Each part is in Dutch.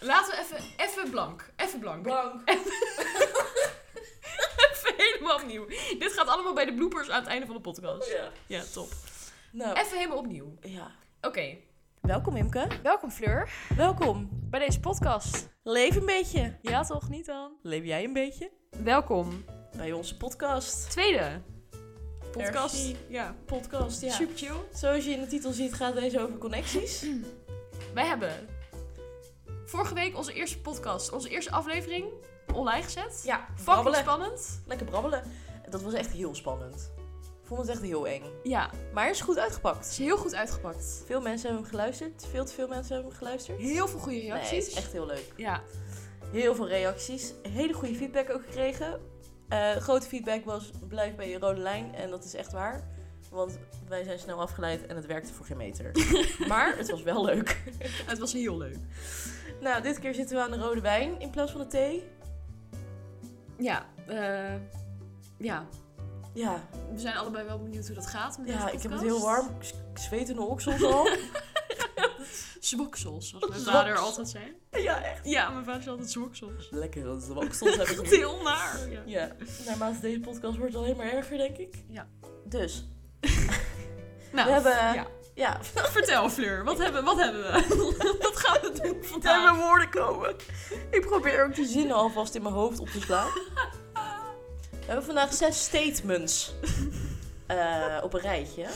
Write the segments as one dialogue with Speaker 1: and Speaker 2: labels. Speaker 1: Laten we even, even blank. Even blank.
Speaker 2: Blank.
Speaker 1: Even helemaal opnieuw. Dit gaat allemaal bij de bloopers aan het einde van de podcast.
Speaker 2: Ja.
Speaker 1: Ja, top.
Speaker 2: Nou,
Speaker 1: Even helemaal opnieuw.
Speaker 2: ja.
Speaker 1: Oké.
Speaker 2: Welkom Imke.
Speaker 1: Welkom Fleur
Speaker 2: Welkom.
Speaker 1: bij deze podcast.
Speaker 2: Leef een beetje.
Speaker 1: Ja toch, niet dan?
Speaker 2: Leef jij een beetje?
Speaker 1: Welkom.
Speaker 2: Bij onze podcast.
Speaker 1: Tweede.
Speaker 2: Merci.
Speaker 1: Ja.
Speaker 2: Podcast, ja.
Speaker 1: Super chill.
Speaker 2: Zoals je in de titel ziet gaat deze over connecties.
Speaker 1: Wij hebben vorige week onze eerste podcast, onze eerste aflevering online gezet.
Speaker 2: Ja,
Speaker 1: Fucking
Speaker 2: brabbelen.
Speaker 1: spannend.
Speaker 2: Lekker brabbelen. Dat was echt heel spannend. Ik vond het echt heel eng.
Speaker 1: Ja, het
Speaker 2: Maar is goed uitgepakt.
Speaker 1: is heel goed uitgepakt.
Speaker 2: Veel mensen hebben hem geluisterd. Veel te veel mensen hebben hem geluisterd.
Speaker 1: Heel veel goede
Speaker 2: Nee, het
Speaker 1: reacties.
Speaker 2: is echt heel leuk.
Speaker 1: Ja,
Speaker 2: Heel veel reacties. Hele goede feedback ook gekregen. Eh, grote feedback was blijf bij je rode lijn. En dat is echt waar. Want wij zijn snel afgeleid en het werkte voor geen meter. maar het was wel leuk.
Speaker 1: het was heel leuk.
Speaker 2: Nou, dit keer zitten we aan de rode wijn in plaats van de thee.
Speaker 1: Ja, eh, ja.
Speaker 2: Ja,
Speaker 1: we zijn allebei wel benieuwd hoe dat gaat met deze
Speaker 2: ja ik heb het
Speaker 1: podcast.
Speaker 2: heel warm. Ik s- Ik zweet in de oksels al.
Speaker 1: Zwoksels, zoals mijn
Speaker 2: Zwoksels.
Speaker 1: vader altijd zei.
Speaker 2: ja, echt.
Speaker 1: Ja, mijn vader zei altijd zwoksels.
Speaker 2: Lekker, de oksels heb ik
Speaker 1: Echt
Speaker 2: nu.
Speaker 1: heel naar. Ja.
Speaker 2: Ja, naarmate deze podcast wordt het alleen maar erger, denk ik.
Speaker 1: Ja.
Speaker 2: Dus,
Speaker 1: Nou,
Speaker 2: We hebben-
Speaker 1: ja.
Speaker 2: ja.
Speaker 1: Vertel Fleur, wat hebben, wat hebben we? wat gaan we doen
Speaker 2: Daar
Speaker 1: vandaag?
Speaker 2: mijn woorden komen. Ik probeer ook die zinnen alvast in mijn hoofd op te slaan. We hebben vandaag zes statements eh, op een rijtje.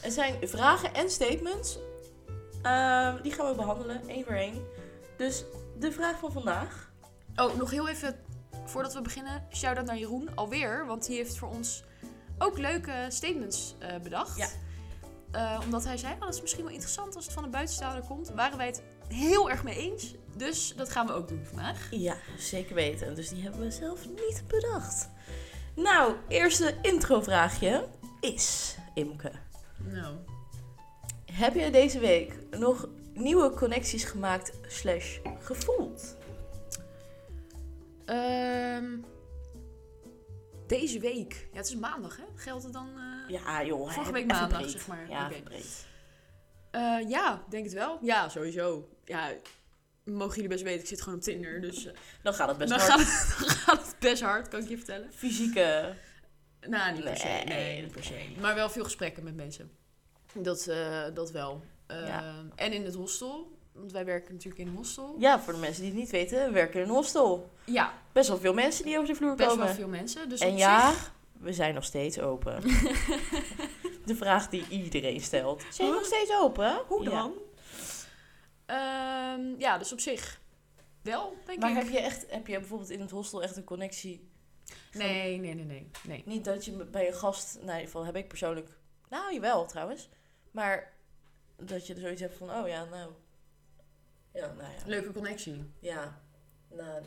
Speaker 2: Het zijn vragen en statements. Ehm, die gaan we behandelen, één voor één. Dus de vraag van vandaag.
Speaker 1: Oh, nog heel even voordat we beginnen. Shout-out naar Jeroen alweer, want die heeft voor ons ook leuke statements eh, bedacht.
Speaker 2: Ja.
Speaker 1: Eh, omdat hij zei, oh, dat is misschien wel interessant als het van een buitenstaander komt. Waren wij het heel erg mee eens. Dus dat gaan we ook doen vandaag.
Speaker 2: Ja, zeker weten. Dus die hebben we zelf niet bedacht. Nou, eerste introvraagje is Imke.
Speaker 1: Nou.
Speaker 2: Heb je deze week nog nieuwe connecties gemaakt slash gevoeld?
Speaker 1: Ehm, deze week. Ja, het is maandag, hè? Geldt het dan... eh,
Speaker 2: Ja, joh.
Speaker 1: Vorige
Speaker 2: hè,
Speaker 1: week
Speaker 2: even
Speaker 1: maandag,
Speaker 2: breed.
Speaker 1: zeg maar.
Speaker 2: Ja,
Speaker 1: Oké.
Speaker 2: even breed.
Speaker 1: Eh, ja, denk het wel. Ja, sowieso. Ja, mogen jullie best weten, ik zit gewoon op Tinder. Dus eh,
Speaker 2: Dan gaat het best
Speaker 1: dan,
Speaker 2: hard.
Speaker 1: gaat het, dan gaat het best hard, kan ik je vertellen.
Speaker 2: Fysieke...
Speaker 1: Nou, niet per se. Nee,
Speaker 2: Nee.
Speaker 1: niet per se. Maar wel veel gesprekken met mensen. Dat, eh, dat wel. Eh,
Speaker 2: Ja.
Speaker 1: En in het hostel. Want wij werken natuurlijk in een hostel.
Speaker 2: Ja, voor de mensen die het niet weten, we werken in een hostel.
Speaker 1: Ja,
Speaker 2: Best wel veel mensen die over de vloer
Speaker 1: best
Speaker 2: komen.
Speaker 1: wel veel mensen. Dus
Speaker 2: en
Speaker 1: op
Speaker 2: ja,
Speaker 1: zich...
Speaker 2: we zijn nog steeds open. de vraag die iedereen stelt. Zijn we nog steeds open?
Speaker 1: Hoe
Speaker 2: Ja.
Speaker 1: dan? Ehm, ja, dus op zich wel, denk
Speaker 2: Maar
Speaker 1: ik.
Speaker 2: heb je, echt, heb je bijvoorbeeld in het hostel echt een connectie?
Speaker 1: Nee, nee, nee, nee. nee.
Speaker 2: Niet dat je bij een gast... Nou, in ieder geval heb ik persoonlijk... Nou, jawel trouwens. Maar dat je er zoiets hebt van... Oh ja, nou... Ja, nou ja.
Speaker 1: Leuke connectie.
Speaker 2: Ja. Nou, het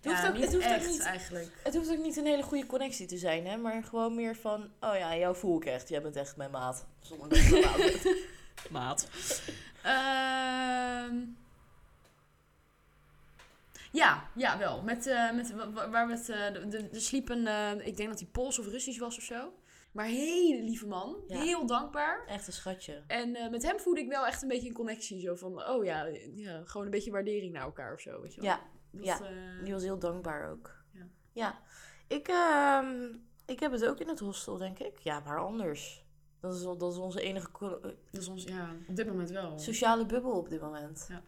Speaker 1: Ja,
Speaker 2: hoeft, ook,
Speaker 1: niet
Speaker 2: het, hoeft
Speaker 1: echt
Speaker 2: ook niet,
Speaker 1: eigenlijk.
Speaker 2: het hoeft ook niet een hele goede connectie te zijn, hè? Maar gewoon meer van, oh ja, jou voel ik echt. Jij bent echt mijn maat. Zonder dat ik mijn maat ben.
Speaker 1: Maat. Ehm, ja, ja, wel. Met, eh, met, wa- wa- waar we het, eh, de- de- er sliep een, eh, ik denk dat hij Pools of Russisch was of zo. Maar hele lieve man.
Speaker 2: Ja.
Speaker 1: Heel dankbaar.
Speaker 2: Echt een schatje.
Speaker 1: En eh, met hem voelde ik wel echt een beetje een connectie. Zo van, oh ja, ja gewoon een beetje waardering naar elkaar of zo. Weet je wel.
Speaker 2: Ja,
Speaker 1: Dat,
Speaker 2: ja.
Speaker 1: eh,
Speaker 2: die was heel dankbaar ook.
Speaker 1: Ja.
Speaker 2: Ja. Ik, ehm, ik heb het ook in het hostel, denk ik. Ja, maar anders. Dat is, on- dat is onze enige co- eh,
Speaker 1: dat is ons, ja, op dit moment wel.
Speaker 2: sociale bubbel op dit moment.
Speaker 1: Ja.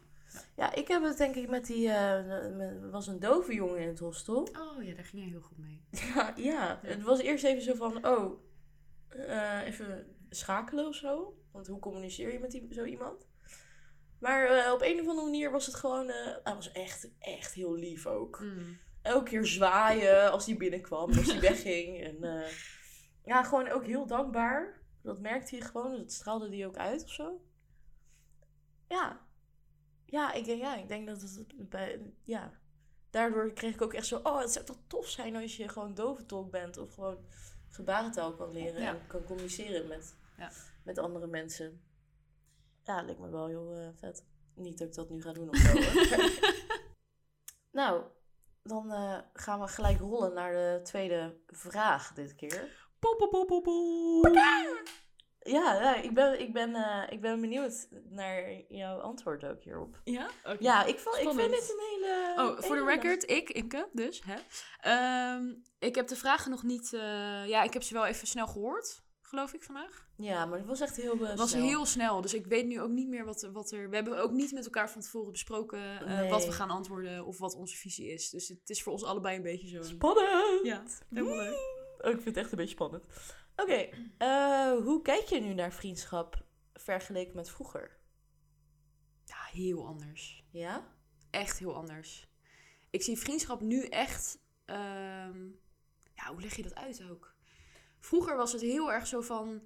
Speaker 2: Ja, ik heb het denk ik met die... eh, met- er was een dove jongen in het hostel.
Speaker 1: Oh ja, daar ging jij heel goed mee.
Speaker 2: Ja, ja, het was eerst even zo van, oh, eh, even schakelen of zo. Want hoe communiceer je met die, zo iemand? Maar eh, op een of andere manier was het gewoon, eh, hij was echt, echt heel lief ook.
Speaker 1: Mm.
Speaker 2: Elke keer zwaaien als hij binnenkwam, als hij wegging. En eh, ja, gewoon ook heel dankbaar. Dat merkte hij gewoon, dat straalde hij ook uit of zo. Ja. Ja, ik, denk- ja, ik denk dat het bij, ja, daardoor kreeg ik ook echt zo, oh, het zou toch tof zijn als je gewoon doventolk bent of gewoon gebarentaal kan leren
Speaker 1: Ja.
Speaker 2: en kan communiceren met,
Speaker 1: Ja.
Speaker 2: met andere mensen. Ja, leek me wel heel eh, vet. Niet dat ik dat nu ga doen of zo. hoor. nou, dan eh, gaan we gelijk rollen naar de tweede vraag dit keer.
Speaker 1: Pop, pop, pop, pop, pop.
Speaker 2: Ja, ja ik, ben, ik, ben, eh, ik ben benieuwd naar jouw antwoord ook hierop.
Speaker 1: Ja? Oké.
Speaker 2: Ja, eh, ik, vo- ik vind
Speaker 1: Spannend.
Speaker 2: dit een hele...
Speaker 1: Oh, voor de
Speaker 2: hele-
Speaker 1: record, ik, Imke, dus. Hè? Ehm, ik heb de vragen nog niet... eh, ja, ik heb ze wel even snel gehoord, geloof ik, vandaag.
Speaker 2: Ja, maar dat was echt heel eh,
Speaker 1: Het was
Speaker 2: snel.
Speaker 1: heel snel, dus ik weet nu ook niet meer wat, wat er... We hebben ook niet met elkaar van tevoren besproken eh,
Speaker 2: Nee.
Speaker 1: wat we gaan antwoorden of wat onze visie is. Dus het is voor ons allebei een beetje zo.
Speaker 2: Spannend!
Speaker 1: Ja, helemaal leuk.
Speaker 2: Oh, ik vind het echt een beetje spannend. Oké, eh, hoe kijk je nu naar vriendschap vergeleken met vroeger?
Speaker 1: Ja, heel anders.
Speaker 2: Ja?
Speaker 1: echt heel anders. Ik zie vriendschap nu echt. ehm, ja, hoe leg je dat uit ook? Vroeger was het heel erg zo van.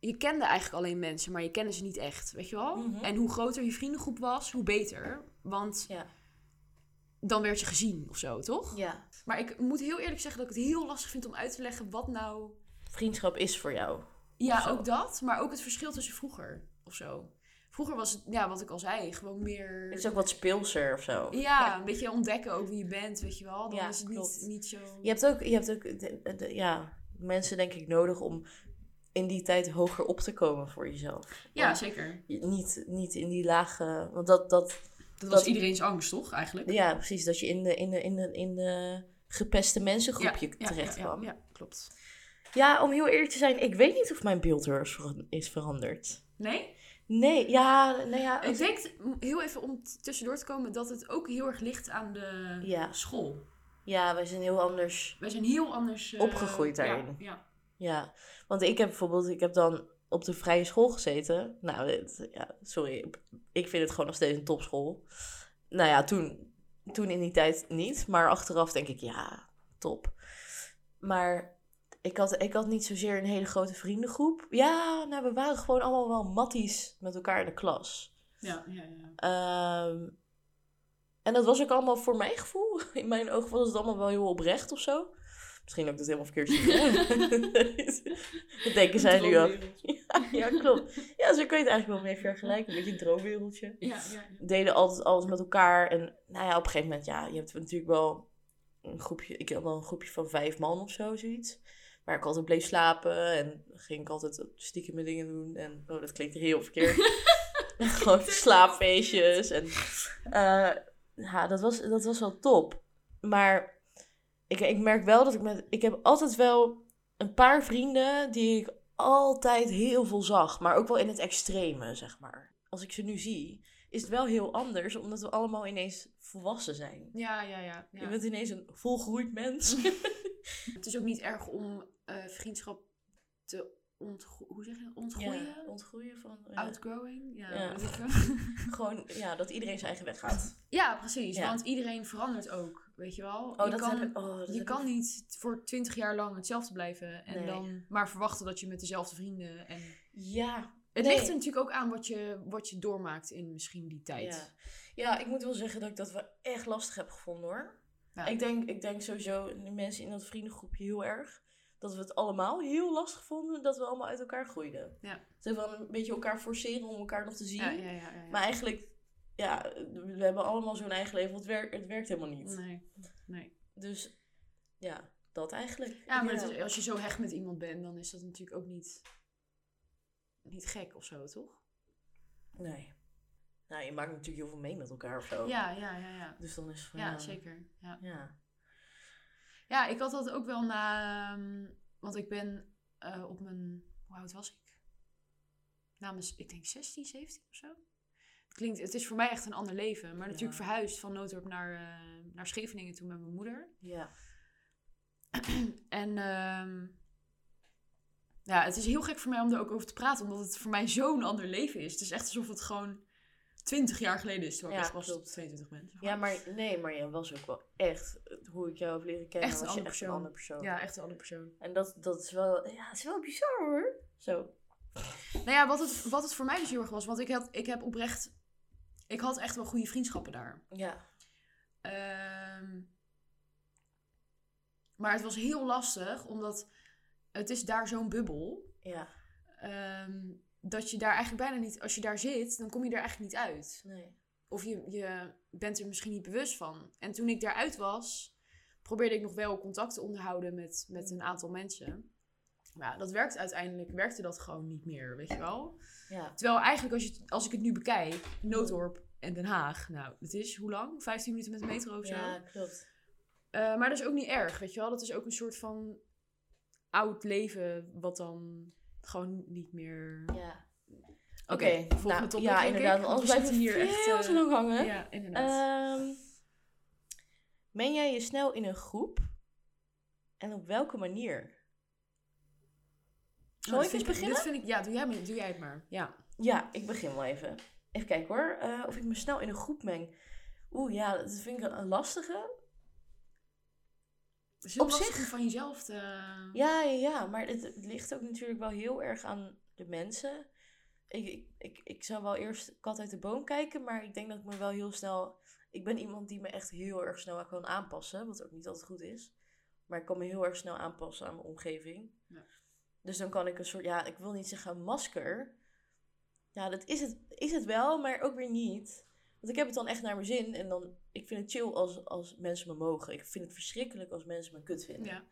Speaker 1: Je kende eigenlijk alleen mensen, maar je kende ze niet echt, weet je wel?
Speaker 2: Mhm.
Speaker 1: En hoe groter je vriendengroep was, hoe beter. Want
Speaker 2: Ja.
Speaker 1: dan werd je gezien of zo, toch?
Speaker 2: Ja.
Speaker 1: Maar ik moet heel eerlijk zeggen dat ik het heel lastig vind om uit te leggen wat nou.
Speaker 2: Vriendschap is voor jou. Of
Speaker 1: Ja,
Speaker 2: zo.
Speaker 1: ook dat, maar ook het verschil tussen vroeger of zo. Vroeger was het, ja, wat ik al zei, gewoon meer.
Speaker 2: Het is ook wat speelser of zo.
Speaker 1: Ja, een beetje ontdekken ook wie je bent, weet je wel. Dan
Speaker 2: Ja,
Speaker 1: is het niet,
Speaker 2: klopt.
Speaker 1: niet zo...
Speaker 2: Je hebt ook, je hebt ook de- de- de- ja, mensen denk ik nodig om in die tijd hoger op te komen voor jezelf.
Speaker 1: Ja,
Speaker 2: Want
Speaker 1: zeker.
Speaker 2: je- niet, niet in die lage... Want dat, dat,
Speaker 1: Dat was
Speaker 2: was
Speaker 1: iedereen's angst, toch, eigenlijk?
Speaker 2: ja, precies. Dat je in de, in de, in de, in de gepeste mensengroepje terecht
Speaker 1: ja,
Speaker 2: kwam.
Speaker 1: Ja, klopt.
Speaker 2: Ja, om heel eerlijk te zijn, ik weet niet of mijn beeld er is veran- is veranderd.
Speaker 1: Nee?
Speaker 2: Nee, ja, nou ja.
Speaker 1: Ik denk, t- heel even om t- tussendoor te komen, dat het ook heel erg ligt aan de
Speaker 2: Ja.
Speaker 1: school.
Speaker 2: Ja, wij zijn heel anders.
Speaker 1: Wij zijn heel anders... eh,
Speaker 2: Opgegroeid
Speaker 1: ja,
Speaker 2: daarin.
Speaker 1: Ja,
Speaker 2: Ja, want ik heb bijvoorbeeld, ik heb dan op de vrije school gezeten. Nou, dit- ja, sorry, ik vind het gewoon nog steeds een topschool. Nou ja, toen, toen in die tijd niet, maar achteraf denk ik, ja, top. Maar ik had, ik had niet zozeer een hele grote vriendengroep. Ja, nou, we waren gewoon allemaal wel matties met elkaar in de klas.
Speaker 1: ja, ja. ja.
Speaker 2: Ehm, en dat was ook allemaal voor mijn gevoel. In mijn ogen was het allemaal wel heel oprecht of zo. Misschien ook dat helemaal verkeerd zie. dat denken zij nu al.
Speaker 1: Droomwereld.
Speaker 2: Ja, klopt. Ja, zo kun je het eigenlijk wel mee vergelijken. Een beetje een droomwereldje.
Speaker 1: Ja, ja, ja.
Speaker 2: We deden altijd alles met elkaar. En nou ja, op een gegeven moment, ja, je hebt natuurlijk wel een groepje. Ik had wel een groepje van vijf man of zo, zoiets. Waar ik altijd bleef slapen en ging ik altijd stiekem mijn dingen doen. En oh, dat klinkt heel verkeerd. Gewoon slaapfeestjes. En, eh, ja, dat was, dat was wel top. Maar ik, ik merk wel dat ik met. Ik heb altijd wel een paar vrienden die ik altijd heel veel zag. Maar ook wel in het extreme, zeg maar. Als ik ze nu zie, is het wel heel anders, omdat we allemaal ineens volwassen zijn.
Speaker 1: Ja, ja, ja, ja.
Speaker 2: Je bent ineens een volgroeid mens.
Speaker 1: Het is ook niet erg om eh, vriendschap te ontgro- hoe zeg je dat? ontgroeien.
Speaker 2: Ja, ontgroeien van. ja.
Speaker 1: Outgrowing? Ja,
Speaker 2: Ja.
Speaker 1: weet ik wel.
Speaker 2: Gewoon, ja, dat iedereen zijn eigen weg gaat.
Speaker 1: Ja, precies.
Speaker 2: Ja.
Speaker 1: Want iedereen verandert ook, weet je wel.
Speaker 2: Oh,
Speaker 1: je
Speaker 2: dat
Speaker 1: kan,
Speaker 2: heb ik- oh, dat
Speaker 1: je
Speaker 2: heb
Speaker 1: kan
Speaker 2: ik-
Speaker 1: niet voor twintig jaar lang hetzelfde blijven. En
Speaker 2: Nee.
Speaker 1: dan maar verwachten dat je met dezelfde vrienden... En...
Speaker 2: Ja,
Speaker 1: Het
Speaker 2: Nee.
Speaker 1: ligt er natuurlijk ook aan wat je, wat je doormaakt in misschien die tijd.
Speaker 2: Ja. ja, ik moet wel zeggen dat ik dat wel echt lastig heb gevonden hoor.
Speaker 1: Ja.
Speaker 2: Ik, denk, ik denk sowieso de mensen in dat vriendengroepje heel erg. Dat we het allemaal heel lastig vonden dat we allemaal uit elkaar groeiden.
Speaker 1: Ja.
Speaker 2: Ze van een beetje elkaar forceren om elkaar nog te zien.
Speaker 1: ja, ja, ja, ja, ja.
Speaker 2: Maar eigenlijk, ja, we hebben allemaal zo'n eigen leven. want Het, werkt het werkt helemaal niet.
Speaker 1: Nee, nee.
Speaker 2: Dus ja, dat eigenlijk.
Speaker 1: Ja, maar het is- als je zo hecht met iemand bent, dan is dat natuurlijk ook niet, niet gek of zo, toch?
Speaker 2: Nee. Nou, je maakt natuurlijk heel veel mee met elkaar of zo.
Speaker 1: Ja, ja, ja, ja.
Speaker 2: Dus dan is het van,
Speaker 1: Ja, zeker. Ja.
Speaker 2: Ja.
Speaker 1: Ja, ik had dat ook wel na. ehm, want ik ben eh, op mijn. Hoe oud was ik? Namens, ik denk 16, 17 of zo. Het, klinkt, het is voor mij echt een ander leven. Maar natuurlijk
Speaker 2: Ja.
Speaker 1: verhuisd van Noodorp naar, eh, naar Scheveningen toen met mijn moeder.
Speaker 2: Ja.
Speaker 1: En ehm, ja, het is heel gek voor mij om er ook over te praten. Omdat het voor mij zo'n ander leven is. Het is echt alsof het gewoon 20 jaar geleden is. Terwijl ik
Speaker 2: Ja,
Speaker 1: echt pas
Speaker 2: klopt.
Speaker 1: 22 ben. zeg
Speaker 2: ja, maar nee, maar jij was ook wel echt, eh, hoe ik jou heb leren kennen,
Speaker 1: Echt een
Speaker 2: was je
Speaker 1: ander
Speaker 2: echt een
Speaker 1: persoon.
Speaker 2: andere persoon.
Speaker 1: ja, echt een andere persoon.
Speaker 2: En dat, dat is wel, ja, het is wel bizar hoor. Zo.
Speaker 1: Nou ja, wat het, wat het voor mij dus heel erg was, want ik, had, ik heb oprecht... Ik had echt wel goede vriendschappen daar.
Speaker 2: Ja.
Speaker 1: Ehm, maar het was heel lastig, omdat het is daar zo'n bubbel.
Speaker 2: Ja.
Speaker 1: ehm dat je daar eigenlijk bijna niet... Als je daar zit, dan kom je er eigenlijk niet uit.
Speaker 2: Nee.
Speaker 1: Of je, je bent er misschien niet bewust van. En toen ik daaruit was, probeerde ik nog wel contact te onderhouden met, met een aantal mensen. Maar ja, dat werkt uiteindelijk, werkte dat gewoon niet meer, weet je wel.
Speaker 2: Ja.
Speaker 1: Terwijl eigenlijk, als, je, het- als ik het nu bekijk, Noodorp en Den Haag. Nou, het is hoe lang? 15 minuten met de metro of zo?
Speaker 2: ja, klopt.
Speaker 1: Eh, maar dat is ook niet erg, weet je wel. Dat is ook een soort van oud leven, wat dan gewoon niet meer...
Speaker 2: Ja.
Speaker 1: Oké, volgende
Speaker 2: nou,
Speaker 1: topic,
Speaker 2: Ja,
Speaker 1: denk ik,
Speaker 2: inderdaad.
Speaker 1: want we
Speaker 2: Want anders blijft
Speaker 1: zitten
Speaker 2: het hier echt heel
Speaker 1: eh,
Speaker 2: te lang hangen.
Speaker 1: Ja, inderdaad.
Speaker 2: Ehm meng jij je snel in een groep? En op welke manier?
Speaker 1: Oh,
Speaker 2: Zal
Speaker 1: dit
Speaker 2: ik
Speaker 1: vind
Speaker 2: eens beginnen?
Speaker 1: Dit vind ik, ja, doe jij, maar- doe jij het maar. Ja.
Speaker 2: Ja, ik begin wel even. Even kijken hoor. eh, of ik me snel in een groep meng. Oeh ja, dat vind ik een, een lastige.
Speaker 1: Het is heel
Speaker 2: Op
Speaker 1: lastig
Speaker 2: zich-
Speaker 1: om Dus van jezelf te...
Speaker 2: Ja, ja, ja. Maar het, het ligt ook natuurlijk wel heel erg aan de mensen. Ik, ik, ik, ik zou wel eerst kat uit de boom kijken. Maar ik denk dat ik me wel heel snel... Ik ben iemand die me echt heel erg snel kan aanpassen. Wat ook niet altijd goed is. Maar ik kan me heel erg snel aanpassen aan mijn omgeving.
Speaker 1: Ja.
Speaker 2: Dus dan kan ik een soort... Ja, ik wil niet zeggen een masker. Ja, dat is het, is het wel, maar ook weer niet. Want ik heb het dan echt naar mijn zin. En dan... Ik vind het chill als, als mensen me mogen. Ik vind het verschrikkelijk als mensen me kut vinden.
Speaker 1: Ja,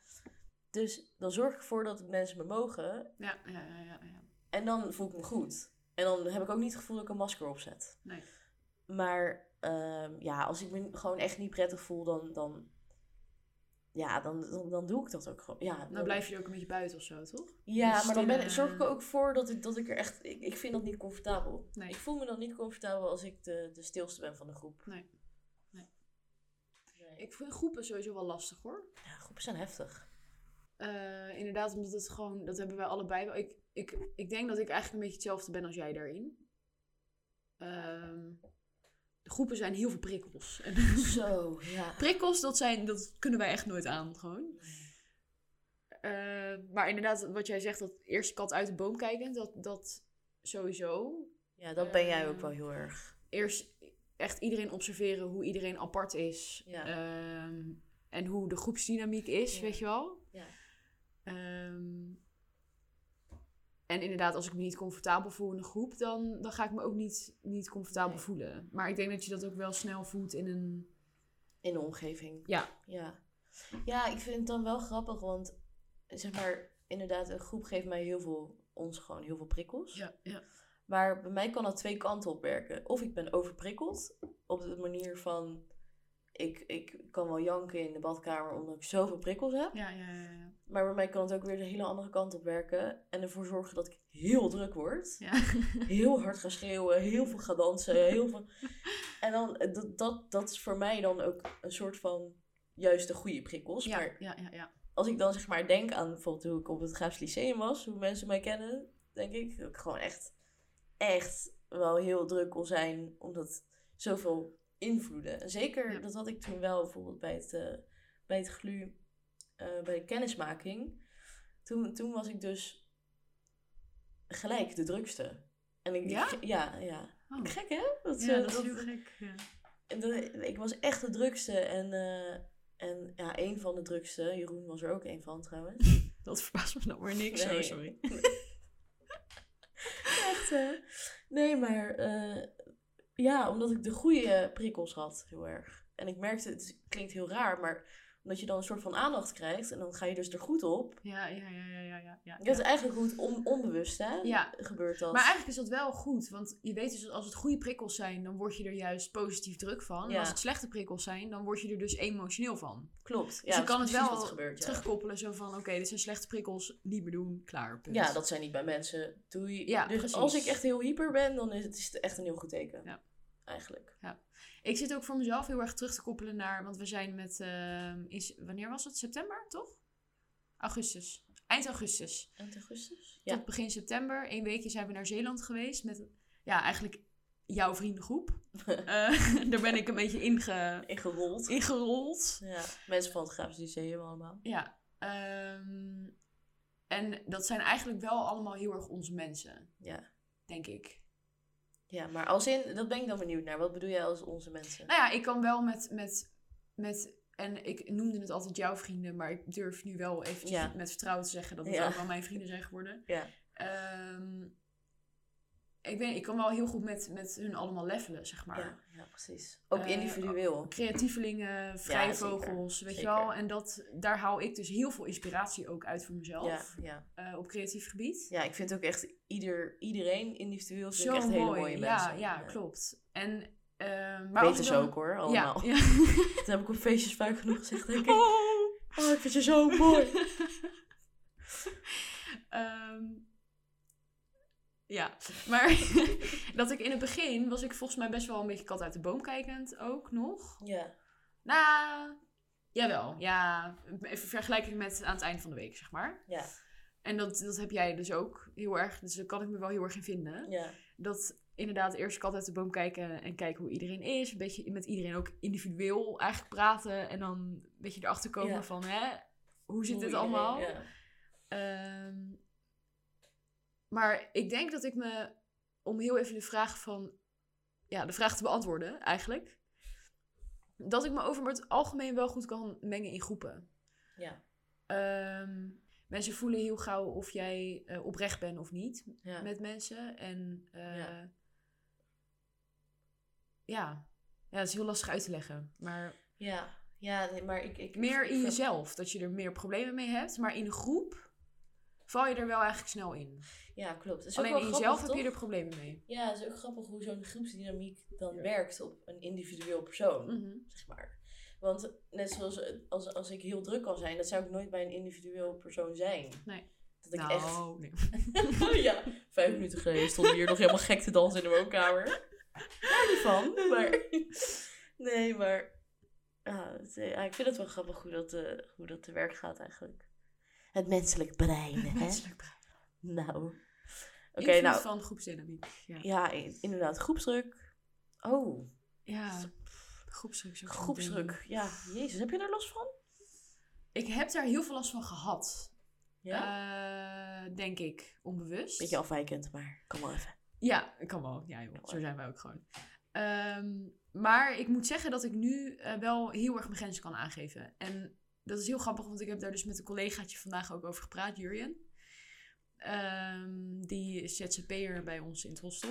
Speaker 2: Dus dan zorg ik ervoor dat mensen me mogen.
Speaker 1: ja, ja, ja, ja, ja.
Speaker 2: En dan voel ik me goed. En dan heb ik ook niet het gevoel dat ik een masker opzet.
Speaker 1: Nee.
Speaker 2: Maar ehm, ja, als ik me gewoon echt niet prettig voel, dan, dan, ja, dan, dan, dan doe ik dat ook gewoon. Ja,
Speaker 1: Dan Nou blijf je er ook een beetje buiten of zo, toch?
Speaker 2: ja
Speaker 1: dus
Speaker 2: maar dan ben,
Speaker 1: stillen-
Speaker 2: zorg ik er ook voor dat ik, dat ik er echt... Ik, ik vind dat niet comfortabel.
Speaker 1: Nee.
Speaker 2: Ik voel me dan niet comfortabel als ik de, de stilste ben van de groep.
Speaker 1: Nee. Nee.
Speaker 2: Nee.
Speaker 1: Ik vind groepen sowieso wel lastig, hoor.
Speaker 2: Ja, groepen zijn heftig.
Speaker 1: Eh, inderdaad, omdat het gewoon... Dat hebben wij allebei wel. Ik, ik, ik denk dat ik eigenlijk een beetje hetzelfde ben als jij daarin. Ehm, de groepen zijn heel veel prikkels. En
Speaker 2: Zo, ja.
Speaker 1: prikkels, dat, zijn, dat kunnen wij echt nooit aan, gewoon. Eh, maar inderdaad, wat jij zegt, dat eerste kat uit de boom kijken, dat, dat sowieso.
Speaker 2: Ja, dat ben jij ook wel heel erg.
Speaker 1: eerst echt iedereen observeren hoe iedereen apart is.
Speaker 2: Ja.
Speaker 1: Ehm, en hoe de groepsdynamiek is,
Speaker 2: Ja.
Speaker 1: weet je wel.
Speaker 2: Ja.
Speaker 1: Ehm, en inderdaad, als ik me niet comfortabel voel in een groep, dan, dan ga ik me ook niet, niet comfortabel
Speaker 2: Nee.
Speaker 1: voelen. Maar ik denk dat je dat ook wel snel voelt in een.
Speaker 2: In de omgeving.
Speaker 1: Ja,
Speaker 2: Ja. Ja, ik vind het dan wel grappig, want zeg maar, inderdaad, een groep geeft mij heel veel, ons gewoon heel veel prikkels.
Speaker 1: ja, ja.
Speaker 2: Maar bij mij kan dat twee kanten op werken. Of ik ben overprikkeld, op de manier van, ik, ik kan wel janken in de badkamer omdat ik zoveel prikkels heb.
Speaker 1: ja, ja, ja, ja.
Speaker 2: Maar bij mij kan het ook weer de hele andere kant op werken. En ervoor zorgen dat ik heel druk word.
Speaker 1: Ja.
Speaker 2: Heel hard ga schreeuwen, heel veel ga dansen, heel veel... En dan, eh, dat, dat, dat is voor mij dan ook een soort van juist de goede prikkels.
Speaker 1: Ja,
Speaker 2: Maar
Speaker 1: ja, ja, ja.
Speaker 2: als ik dan zeg maar denk aan bijvoorbeeld hoe ik op het Graafs Lyceum was, hoe mensen mij kennen, denk ik dat ik gewoon echt, echt wel heel druk kon zijn, omdat zoveel invloeden. En zeker,
Speaker 1: Ja.
Speaker 2: dat had ik toen wel bijvoorbeeld bij het, eh, bij het GLU, eh, bij de kennismaking. Toen, toen was ik dus gelijk de drukste. En ik,
Speaker 1: Ja?
Speaker 2: ik- ja, ja.
Speaker 1: Oh.
Speaker 2: Gek hè? Dat,
Speaker 1: Ja,
Speaker 2: eh,
Speaker 1: dat is
Speaker 2: dat-
Speaker 1: heel gek. Ja.
Speaker 2: en dat- ik was echt de drukste. En, eh, en ja, één van de drukste. Jeroen was er ook één van trouwens.
Speaker 1: Dat verbaast me nou weer niks.
Speaker 2: Nee.
Speaker 1: hoor, sorry.
Speaker 2: Echt, hè? Nee, maar eh, ja, omdat ik de goede prikkels had, heel erg. En ik merkte, het klinkt heel raar, maar omdat je dan een soort van aandacht krijgt en dan ga je dus er goed op.
Speaker 1: Ja, ja, ja, ja, ja, ja. ja,
Speaker 2: Dat is
Speaker 1: ja.
Speaker 2: eigenlijk goed on onbewust, hè?
Speaker 1: Ja.
Speaker 2: Gebeurt dat.
Speaker 1: Maar eigenlijk is dat wel goed, want je weet dus dat als het goede prikkels zijn, dan word je er juist positief druk van. En
Speaker 2: Ja.
Speaker 1: als het slechte prikkels zijn, dan word je er dus emotioneel van.
Speaker 2: Klopt.
Speaker 1: dus je
Speaker 2: dat
Speaker 1: kan
Speaker 2: is
Speaker 1: het
Speaker 2: precies
Speaker 1: wel
Speaker 2: wat gebeurt, ja.
Speaker 1: terugkoppelen, zo van oké, dit zijn slechte prikkels, niet meer doen, klaar. Punt.
Speaker 2: Ja, dat zijn niet bij mensen. Doei.
Speaker 1: Ja,
Speaker 2: dus
Speaker 1: precies.
Speaker 2: als ik echt heel hyper ben, dan is het, is het echt een heel goed teken.
Speaker 1: Ja.
Speaker 2: Eigenlijk.
Speaker 1: Ik zit ook voor mezelf heel erg terug te koppelen naar, want we zijn met, ehm, is, wanneer was het? September, toch? Augustus. Eind augustus.
Speaker 2: Eind augustus? Ja.
Speaker 1: Tot begin september. Eén weekje zijn we naar Zeeland geweest met, ja, eigenlijk jouw vriendengroep. Eh, daar ben ik een beetje inge,
Speaker 2: Ingerold.
Speaker 1: ingerold.
Speaker 2: Ja. Mensen van het Graafs Lyceum allemaal.
Speaker 1: Ja. ehm, en dat zijn eigenlijk wel allemaal heel erg onze mensen,
Speaker 2: Ja.
Speaker 1: denk ik.
Speaker 2: Ja, maar als in, dat ben ik dan benieuwd naar. Wat bedoel jij als onze mensen?
Speaker 1: Nou ja, ik kan wel met, met, met en ik noemde het altijd jouw vrienden, maar ik durf nu wel eventjes
Speaker 2: Ja.
Speaker 1: met vertrouwen te zeggen dat het
Speaker 2: Ja.
Speaker 1: ook wel mijn vrienden zijn geworden.
Speaker 2: Ja.
Speaker 1: Ehm, ik, weet, ik kan wel heel goed met, met hun allemaal levelen, zeg maar.
Speaker 2: Ja, ja, precies. Ook
Speaker 1: Eh,
Speaker 2: individueel.
Speaker 1: Creatievelingen, vrije
Speaker 2: zeker.
Speaker 1: vogels, weet
Speaker 2: Zeker.
Speaker 1: je wel. En dat, daar haal ik dus heel veel inspiratie ook uit voor mezelf.
Speaker 2: Ja, ja.
Speaker 1: eh, op creatief gebied.
Speaker 2: ja, ik vind ook echt ieder, iedereen individueel vind
Speaker 1: Zo
Speaker 2: ik echt
Speaker 1: mooi.
Speaker 2: hele mooie
Speaker 1: ja,
Speaker 2: mensen.
Speaker 1: ja, klopt. En, eh maar als
Speaker 2: Weten
Speaker 1: je
Speaker 2: ze
Speaker 1: dan-
Speaker 2: ook hoor,
Speaker 1: Ja,
Speaker 2: allemaal.
Speaker 1: ja.
Speaker 2: Dat heb ik op feestjes vaak genoeg gezegd, denk ik. Oh, ik vind je zo mooi.
Speaker 1: Ehm, ja, maar dat ik in het begin was ik volgens mij best wel een beetje kat uit de boom kijkend ook nog.
Speaker 2: Ja,
Speaker 1: Nou, jawel. Ja, even vergelijking met aan het eind van de week, zeg maar.
Speaker 2: ja,
Speaker 1: En dat, dat heb jij dus ook heel erg, dus daar kan ik me wel heel erg in vinden.
Speaker 2: ja.
Speaker 1: Dat inderdaad eerst kat uit de boom kijken en kijken hoe iedereen is. Een beetje met iedereen ook individueel eigenlijk praten. En dan een beetje erachter komen
Speaker 2: Ja.
Speaker 1: van, hè, hoe zit
Speaker 2: Hoe
Speaker 1: dit
Speaker 2: iedereen-
Speaker 1: allemaal?
Speaker 2: Ja.
Speaker 1: Ehm, maar ik denk dat ik me, om heel even de vraag van, ja, de vraag te beantwoorden eigenlijk, dat ik me over het algemeen wel goed kan mengen in groepen.
Speaker 2: Ja.
Speaker 1: Ehm, mensen voelen heel gauw of jij eh, oprecht bent of niet
Speaker 2: Ja.
Speaker 1: met mensen. En eh,
Speaker 2: Ja.
Speaker 1: ja. ja. dat is heel lastig uit te leggen. Maar
Speaker 2: Ja, ja nee, maar ik... ik
Speaker 1: meer in
Speaker 2: ik-
Speaker 1: jezelf, dat je er meer problemen mee hebt. Maar in een groep val je er wel eigenlijk snel in.
Speaker 2: Ja, klopt. Het is ook
Speaker 1: Alleen
Speaker 2: wel
Speaker 1: in
Speaker 2: grappig,
Speaker 1: jezelf heb je
Speaker 2: toch?
Speaker 1: er problemen mee.
Speaker 2: Ja, het is ook grappig hoe zo'n groepsdynamiek dan
Speaker 1: Ja.
Speaker 2: werkt op een individueel persoon, zeg maar. Want net zoals eh, als, als ik heel druk kan zijn, dat zou ik nooit bij een individueel persoon zijn.
Speaker 1: Nee.
Speaker 2: Dat ik
Speaker 1: nou,
Speaker 2: echt...
Speaker 1: nee.
Speaker 2: ja, vijf minuten geleden stond hier nog helemaal gek te dansen in de woonkamer. Daar niet van, maar... Nee, maar... Ja, het, eh, ja, ik vind het wel grappig hoe dat, eh, hoe dat te werk gaat eigenlijk. Het menselijk brein, hè?
Speaker 1: Menselijk brein.
Speaker 2: Nou. Oké,
Speaker 1: Invloed
Speaker 2: nou.
Speaker 1: van groepsdynamiek. Ja,
Speaker 2: Ja, i- inderdaad. Groepsdruk. Oh,
Speaker 1: ja. groepsdruk. is ook zo'n ding.
Speaker 2: groepsdruk. Ja, jezus. Heb je daar last van?
Speaker 1: Ik heb daar heel veel last van gehad.
Speaker 2: Ja.
Speaker 1: Eh, denk ik, onbewust.
Speaker 2: Beetje afwijkend, maar kom maar even.
Speaker 1: Ja, kan wel. Ja, joh. Zo zijn wij ook gewoon. Ehm, maar ik moet zeggen dat ik nu eh, wel heel erg mijn grenzen kan aangeven. En dat is heel grappig, want ik heb daar dus met een collegaatje vandaag ook over gepraat, Jurjen. Ehm, die is ZZP'er bij ons in het hostel.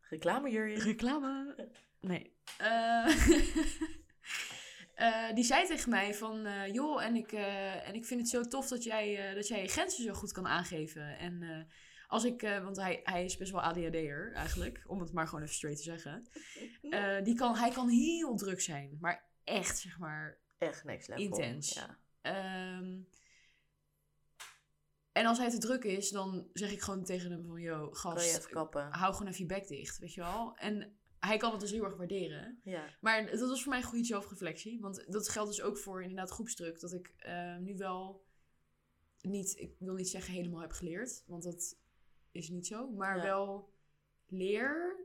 Speaker 2: Reclame, Jurjen.
Speaker 1: Reclame? Nee. Eh, die zei tegen mij van, eh, joh, en ik, eh, en ik vind het zo tof dat jij, eh, dat jij je grenzen zo goed kan aangeven. En eh, als ik, eh, want hij, hij is best wel ADHD'er eigenlijk, om het maar gewoon even straight te zeggen. Eh, die kan, hij kan heel druk zijn, maar echt, zeg maar,
Speaker 2: Echt niks level.
Speaker 1: Intens.
Speaker 2: Ja.
Speaker 1: Ehm, en als hij te druk is, dan zeg ik gewoon tegen hem van... Yo,
Speaker 2: Kan je
Speaker 1: gast,
Speaker 2: even kappen.
Speaker 1: hou gewoon even je bek dicht, weet je wel? En hij kan het dus heel erg waarderen.
Speaker 2: Ja.
Speaker 1: Maar dat was voor mij een goede zelfreflectie. Want dat geldt dus ook voor inderdaad groepsdruk. Dat ik eh, nu wel niet... Ik wil niet zeggen helemaal heb geleerd. Want dat is niet zo. Maar
Speaker 2: Ja.
Speaker 1: wel leer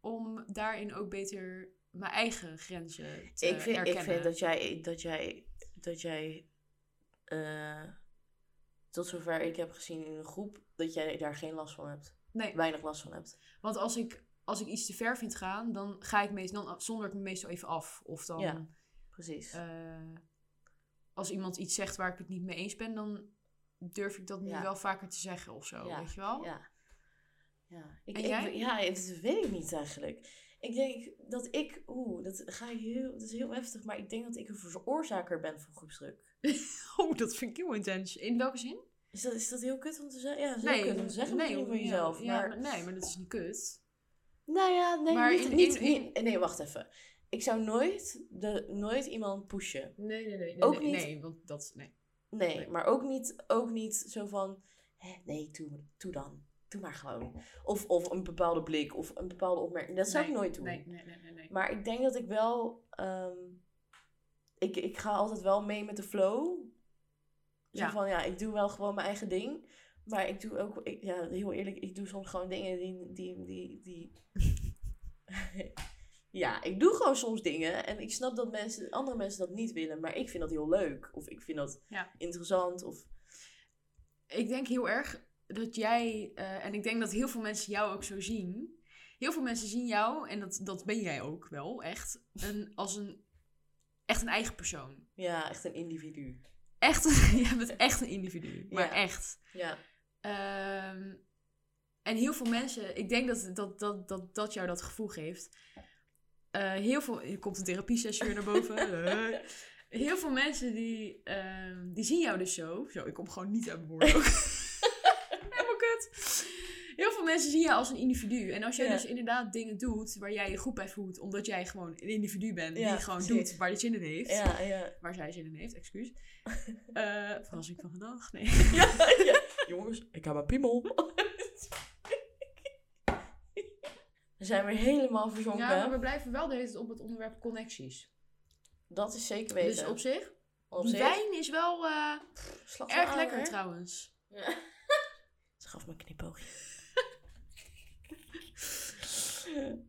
Speaker 1: om daarin ook beter mijn eigen grenzen te
Speaker 2: Ik vind, ik
Speaker 1: erkennen.
Speaker 2: vind dat jij... Dat jij... Dat jij... eh, tot zover ik heb gezien in een groep, dat jij daar geen last van hebt.
Speaker 1: Nee.
Speaker 2: Weinig last van hebt.
Speaker 1: Want als ik, als ik iets te ver vind gaan, dan ga ik meestal, dan zonder ik me meestal even af. Of dan
Speaker 2: Ja. Precies.
Speaker 1: eh, als iemand iets zegt waar ik het niet mee eens ben, dan durf ik dat nu
Speaker 2: Ja.
Speaker 1: wel vaker te zeggen of zo.
Speaker 2: Ja,
Speaker 1: Weet je wel?
Speaker 2: Ja. Ja, ik,
Speaker 1: En
Speaker 2: ik-
Speaker 1: jij?
Speaker 2: ja dat weet ik niet eigenlijk. Ik denk dat ik, oeh, dat, ga ik heel, dat is heel heftig, maar ik denk dat ik een veroorzaker ben van groepsdruk.
Speaker 1: Oh, dat vind ik heel intens. In welke zin?
Speaker 2: Is dat, is dat heel kut om te zeggen? Ja, dat is heel kut om te zeggen misschien van
Speaker 1: ja,
Speaker 2: jezelf.
Speaker 1: ja,
Speaker 2: maar,
Speaker 1: nee, maar dat is niet kut.
Speaker 2: nou ja, nee,
Speaker 1: Maar
Speaker 2: niet,
Speaker 1: in-
Speaker 2: niet,
Speaker 1: in-
Speaker 2: niet- nee, wacht even. Ik zou nooit, de, nooit iemand pushen.
Speaker 1: Nee, nee, nee. nee
Speaker 2: Ook
Speaker 1: nee,
Speaker 2: niet.
Speaker 1: Nee, want dat... Nee.
Speaker 2: Nee,
Speaker 1: Nee.
Speaker 2: maar ook niet, ook niet zo van, hè, nee, doe, doe dan. Doe maar gewoon. Of, of een bepaalde blik of een bepaalde opmerking. Dat zou
Speaker 1: nee,
Speaker 2: ik nooit doen.
Speaker 1: Nee, nee, nee, nee. nee.
Speaker 2: Maar ik denk dat ik wel. ehm, ik, ik ga altijd wel mee met de flow. Zo
Speaker 1: Ja.
Speaker 2: van ja, ik doe wel gewoon mijn eigen ding. Maar ik doe ook, ik, ja, heel eerlijk, ik doe soms gewoon dingen die. die, die, die... ja, ik doe gewoon soms dingen. En ik snap dat mensen, andere mensen dat niet willen. Maar ik vind dat heel leuk. Of ik vind dat
Speaker 1: Ja.
Speaker 2: interessant. Of
Speaker 1: ik denk heel erg dat jij, eh, en ik denk dat heel veel mensen jou ook zo zien. Heel veel mensen zien jou, en dat, dat ben jij ook wel, echt, een, als een, echt een eigen persoon.
Speaker 2: ja, echt een individu.
Speaker 1: Echt, een- jij bent echt een individu, maar
Speaker 2: Ja.
Speaker 1: echt.
Speaker 2: Ja,
Speaker 1: Ehm, En heel veel mensen, ik denk dat dat, dat, dat, dat jou dat gevoel geeft. Eh, heel veel, hier komt een therapiesessie weer naar boven. Eh. heel veel mensen die, ehm, die zien jou dus zo. Zo, ik kom gewoon niet uit mijn woorden ook. Helemaal kut. Heel veel mensen zien jou als een individu. En als jij
Speaker 2: Ja.
Speaker 1: dus inderdaad dingen doet waar jij je goed bij voelt, omdat jij gewoon een individu bent
Speaker 2: Ja,
Speaker 1: die gewoon
Speaker 2: precies.
Speaker 1: doet waar hij zin in heeft.
Speaker 2: Ja, ja.
Speaker 1: Waar zij zin in heeft, excuus. Eh verrassing van gedag, nee.
Speaker 2: Jongens, ik heb mijn piemel. We zijn weer helemaal verzonken.
Speaker 1: Ja, maar we blijven wel deze op het onderwerp connecties.
Speaker 2: Dat is zeker weten.
Speaker 1: Dus op zich,
Speaker 2: Op
Speaker 1: die
Speaker 2: zich-
Speaker 1: wijn is wel eh,
Speaker 2: Slag van
Speaker 1: erg
Speaker 2: aan,
Speaker 1: lekker
Speaker 2: hè?
Speaker 1: trouwens.
Speaker 2: Ja. Ze gaf me een knipoogje.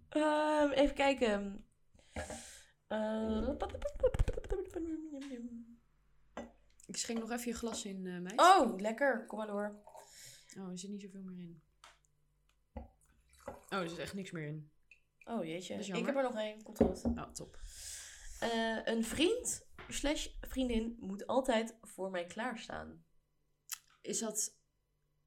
Speaker 2: Ehm, even kijken. Eh,
Speaker 1: Ik schenk nog even je glas in, eh meid.
Speaker 2: oh, lekker. Kom maar door.
Speaker 1: Oh, er zit niet zoveel meer in. Oh, er zit echt niks meer in.
Speaker 2: Oh jeetje.
Speaker 1: Dat is
Speaker 2: Ik
Speaker 1: jammer.
Speaker 2: heb er nog één. Komt goed.
Speaker 1: Oh, top.
Speaker 2: Eh, een vriend slash vriendin moet altijd voor mij klaarstaan.
Speaker 1: Mm. Is dat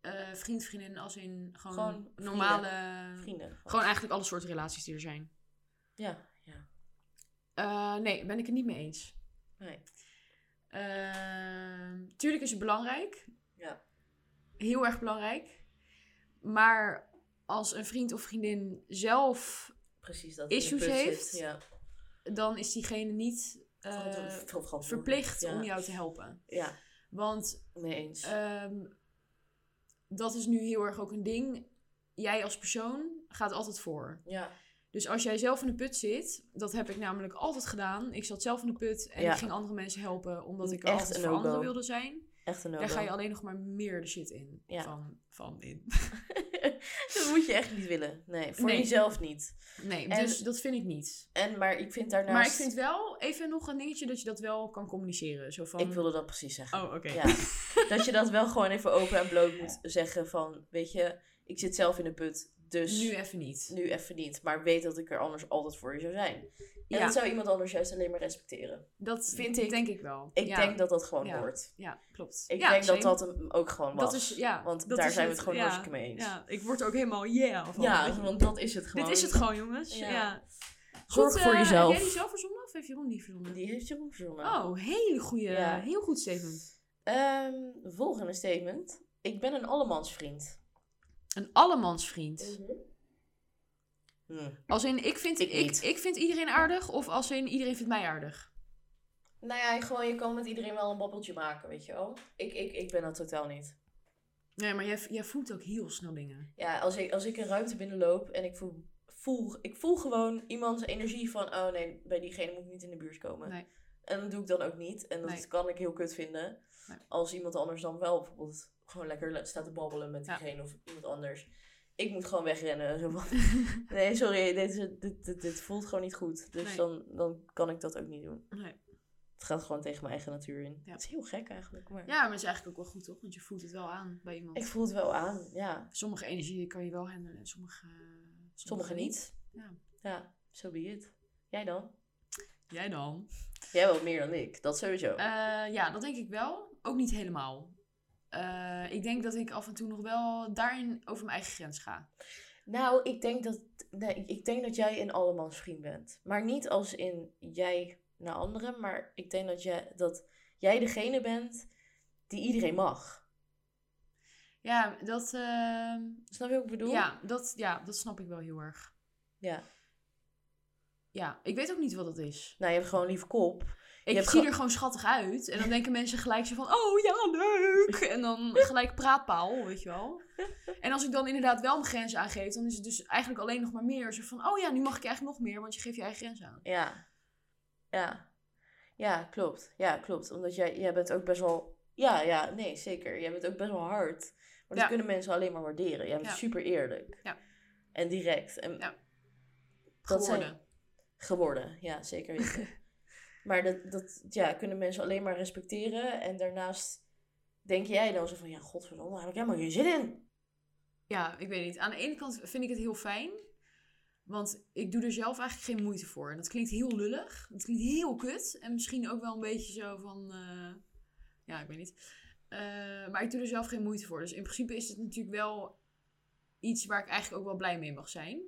Speaker 1: eh, vriend, vriendin als in gewoon,
Speaker 2: Gewoon
Speaker 1: normale...
Speaker 2: Vrienden.
Speaker 1: Gewoon eigenlijk alle soorten relaties die er zijn.
Speaker 2: Ja, ja.
Speaker 1: Eh, nee, ben ik het niet mee eens.
Speaker 2: Nee.
Speaker 1: Ehm, tuurlijk is het belangrijk.
Speaker 2: Ja.
Speaker 1: Heel erg belangrijk. Maar als een vriend of vriendin zelf,
Speaker 2: Precies dat.
Speaker 1: het in de Issues put heeft? zit,
Speaker 2: Ja.
Speaker 1: dan is diegene niet eh, verplicht om jou te helpen.
Speaker 2: Ja,
Speaker 1: Want
Speaker 2: mee eens.
Speaker 1: ehm, dat is nu heel erg ook een ding. Jij als persoon gaat altijd voor.
Speaker 2: ja.
Speaker 1: Dus als jij zelf in de put zit, dat heb ik namelijk altijd gedaan. Ik zat zelf in de put en
Speaker 2: Ja.
Speaker 1: ik ging andere mensen helpen omdat ik er
Speaker 2: Echt
Speaker 1: altijd
Speaker 2: een
Speaker 1: voor anderen
Speaker 2: no-go.
Speaker 1: wilde zijn.
Speaker 2: Echt een no
Speaker 1: Daar ga je alleen nog maar meer de shit in.
Speaker 2: Ja.
Speaker 1: Van, van in.
Speaker 2: dat moet je echt niet willen. Nee, voor
Speaker 1: Nee.
Speaker 2: jezelf niet.
Speaker 1: Nee,
Speaker 2: En-
Speaker 1: dus dat vind ik niet.
Speaker 2: En, maar ik vind daarnaast...
Speaker 1: Maar ik vind wel even nog een dingetje dat je dat wel kan communiceren. Zo van...
Speaker 2: Ik wilde dat precies zeggen.
Speaker 1: Oh, oké.
Speaker 2: Ja. dat je dat wel gewoon even open en bloot moet zeggen van... Weet je, ik zit zelf in de put, dus
Speaker 1: Nu
Speaker 2: nu,
Speaker 1: even niet.
Speaker 2: even niet. Maar weet dat ik er anders altijd voor je zou zijn. En
Speaker 1: Ja.
Speaker 2: dat zou iemand anders juist alleen maar respecteren.
Speaker 1: Dat
Speaker 2: Vind
Speaker 1: vind
Speaker 2: ik-
Speaker 1: ik, denk ik wel.
Speaker 2: Ik
Speaker 1: ja.
Speaker 2: denk dat dat gewoon
Speaker 1: Ja.
Speaker 2: hoort.
Speaker 1: Ja, klopt.
Speaker 2: Ik
Speaker 1: Ja,
Speaker 2: denk
Speaker 1: same.
Speaker 2: dat dat hem ook gewoon was.
Speaker 1: Dat is, ja,
Speaker 2: Want
Speaker 1: dat
Speaker 2: daar
Speaker 1: is
Speaker 2: zijn we het gewoon
Speaker 1: ja.
Speaker 2: hartstikke mee eens. Ja,
Speaker 1: Ja, ik word er ook helemaal yeah van.
Speaker 2: want dat is het gewoon.
Speaker 1: Dit is het gewoon, jongens.
Speaker 2: Ja.
Speaker 1: Ja.
Speaker 2: Zorg
Speaker 1: Goed,
Speaker 2: voor
Speaker 1: eh,
Speaker 2: jezelf.
Speaker 1: Heb jij die zelf verzonnen of heeft Jeroen die verzonnen?
Speaker 2: Die heeft Jeroen verzonnen.
Speaker 1: Oh, hele goede,
Speaker 2: Ja.
Speaker 1: heel goed statement.
Speaker 2: Ehm, volgende statement. Ik ben een allemansvriend.
Speaker 1: Een allemansvriend.
Speaker 2: Hmm.
Speaker 1: Als in, ik vind,
Speaker 2: Ik
Speaker 1: ik,
Speaker 2: niet.
Speaker 1: ik, vind iedereen aardig. Of als in, iedereen vindt mij aardig.
Speaker 2: Nou ja, gewoon, je kan met iedereen wel een babbeltje maken, weet je wel. Ik, ik, ik ben dat totaal niet.
Speaker 1: Nee, maar jij, jij voelt ook heel snel dingen.
Speaker 2: Ja, als ik, als ik een ruimte binnenloop en ik voel, voel, ik voel gewoon iemands energie van... Oh nee, bij diegene moet ik niet in de buurt komen.
Speaker 1: Nee.
Speaker 2: En dat doe ik dan ook niet. En dat
Speaker 1: Nee.
Speaker 2: kan ik heel kut vinden.
Speaker 1: Nee.
Speaker 2: Als iemand anders dan wel bijvoorbeeld gewoon lekker le- staat te babbelen met
Speaker 1: Ja.
Speaker 2: diegene of iemand anders. Ik moet gewoon wegrennen. Zo van, nee, sorry, dit, is- dit, dit, dit voelt gewoon niet goed. Dus
Speaker 1: Nee.
Speaker 2: dan, dan kan ik dat ook niet doen.
Speaker 1: Nee.
Speaker 2: Het gaat gewoon tegen mijn eigen natuur in.
Speaker 1: Ja.
Speaker 2: Het is heel gek eigenlijk. Maar...
Speaker 1: Ja, maar het is eigenlijk ook wel goed, toch? Want je voelt het wel aan bij iemand.
Speaker 2: Ik voel het wel aan, ja.
Speaker 1: Sommige energie kan je wel handelen en sommige, sommige,
Speaker 2: Sommigen niet.
Speaker 1: Ja.
Speaker 2: Ja, so be it. Jij dan?
Speaker 1: Jij dan?
Speaker 2: Jij wel meer dan ik, dat sowieso.
Speaker 1: Eh, ja, dat denk ik wel. Ook niet helemaal. Eh, ik denk dat ik af en toe nog wel daarin over mijn eigen grens ga.
Speaker 2: Nou, ik denk dat, nee, ik- ik denk dat jij een allemans vriend bent. Maar niet als in jij naar anderen, maar ik denk dat jij, dat jij degene bent die iedereen mag.
Speaker 1: Ja, dat, ehm,
Speaker 2: Snap je wat ik bedoel?
Speaker 1: ja, dat, ja, dat snap ik wel heel erg.
Speaker 2: Ja.
Speaker 1: Ja, ik weet ook niet wat dat is.
Speaker 2: Nou, je hebt gewoon een lieve kop. Je
Speaker 1: Ik
Speaker 2: hebt
Speaker 1: zie
Speaker 2: ge-
Speaker 1: er gewoon schattig uit. En dan denken mensen gelijk zo van, oh ja, leuk. En dan gelijk praatpaal, weet je wel. En als ik dan inderdaad wel mijn grens aangeef, dan is het dus eigenlijk alleen nog maar meer. Zo van, oh ja, nu mag ik eigenlijk nog meer, want je geeft je eigen grens aan.
Speaker 2: Ja. Ja. Ja, klopt. Ja, klopt. Omdat jij, jij bent ook best wel... Ja, ja, nee, zeker. Jij bent ook best wel hard. Maar dat
Speaker 1: Ja.
Speaker 2: kunnen mensen alleen maar waarderen. Jij bent
Speaker 1: Ja.
Speaker 2: super eerlijk.
Speaker 1: Ja.
Speaker 2: En direct. En
Speaker 1: Ja.
Speaker 2: Dat
Speaker 1: Dat
Speaker 2: zijn-
Speaker 1: zijn...
Speaker 2: geworden. Ja, zeker weten. maar dat, dat ja, kunnen mensen alleen maar respecteren. En daarnaast denk jij dan zo van... Ja, godverdomme, daar heb ik helemaal geen zin in.
Speaker 1: Ja, ik weet niet. Aan de ene kant vind ik het heel fijn. Want ik doe er zelf eigenlijk geen moeite voor. En dat klinkt heel lullig. Dat klinkt heel kut. En misschien ook wel een beetje zo van... eh, ja, ik weet niet. Eh, maar ik doe er zelf geen moeite voor. Dus in principe is het natuurlijk wel iets waar ik eigenlijk ook wel blij mee mag zijn.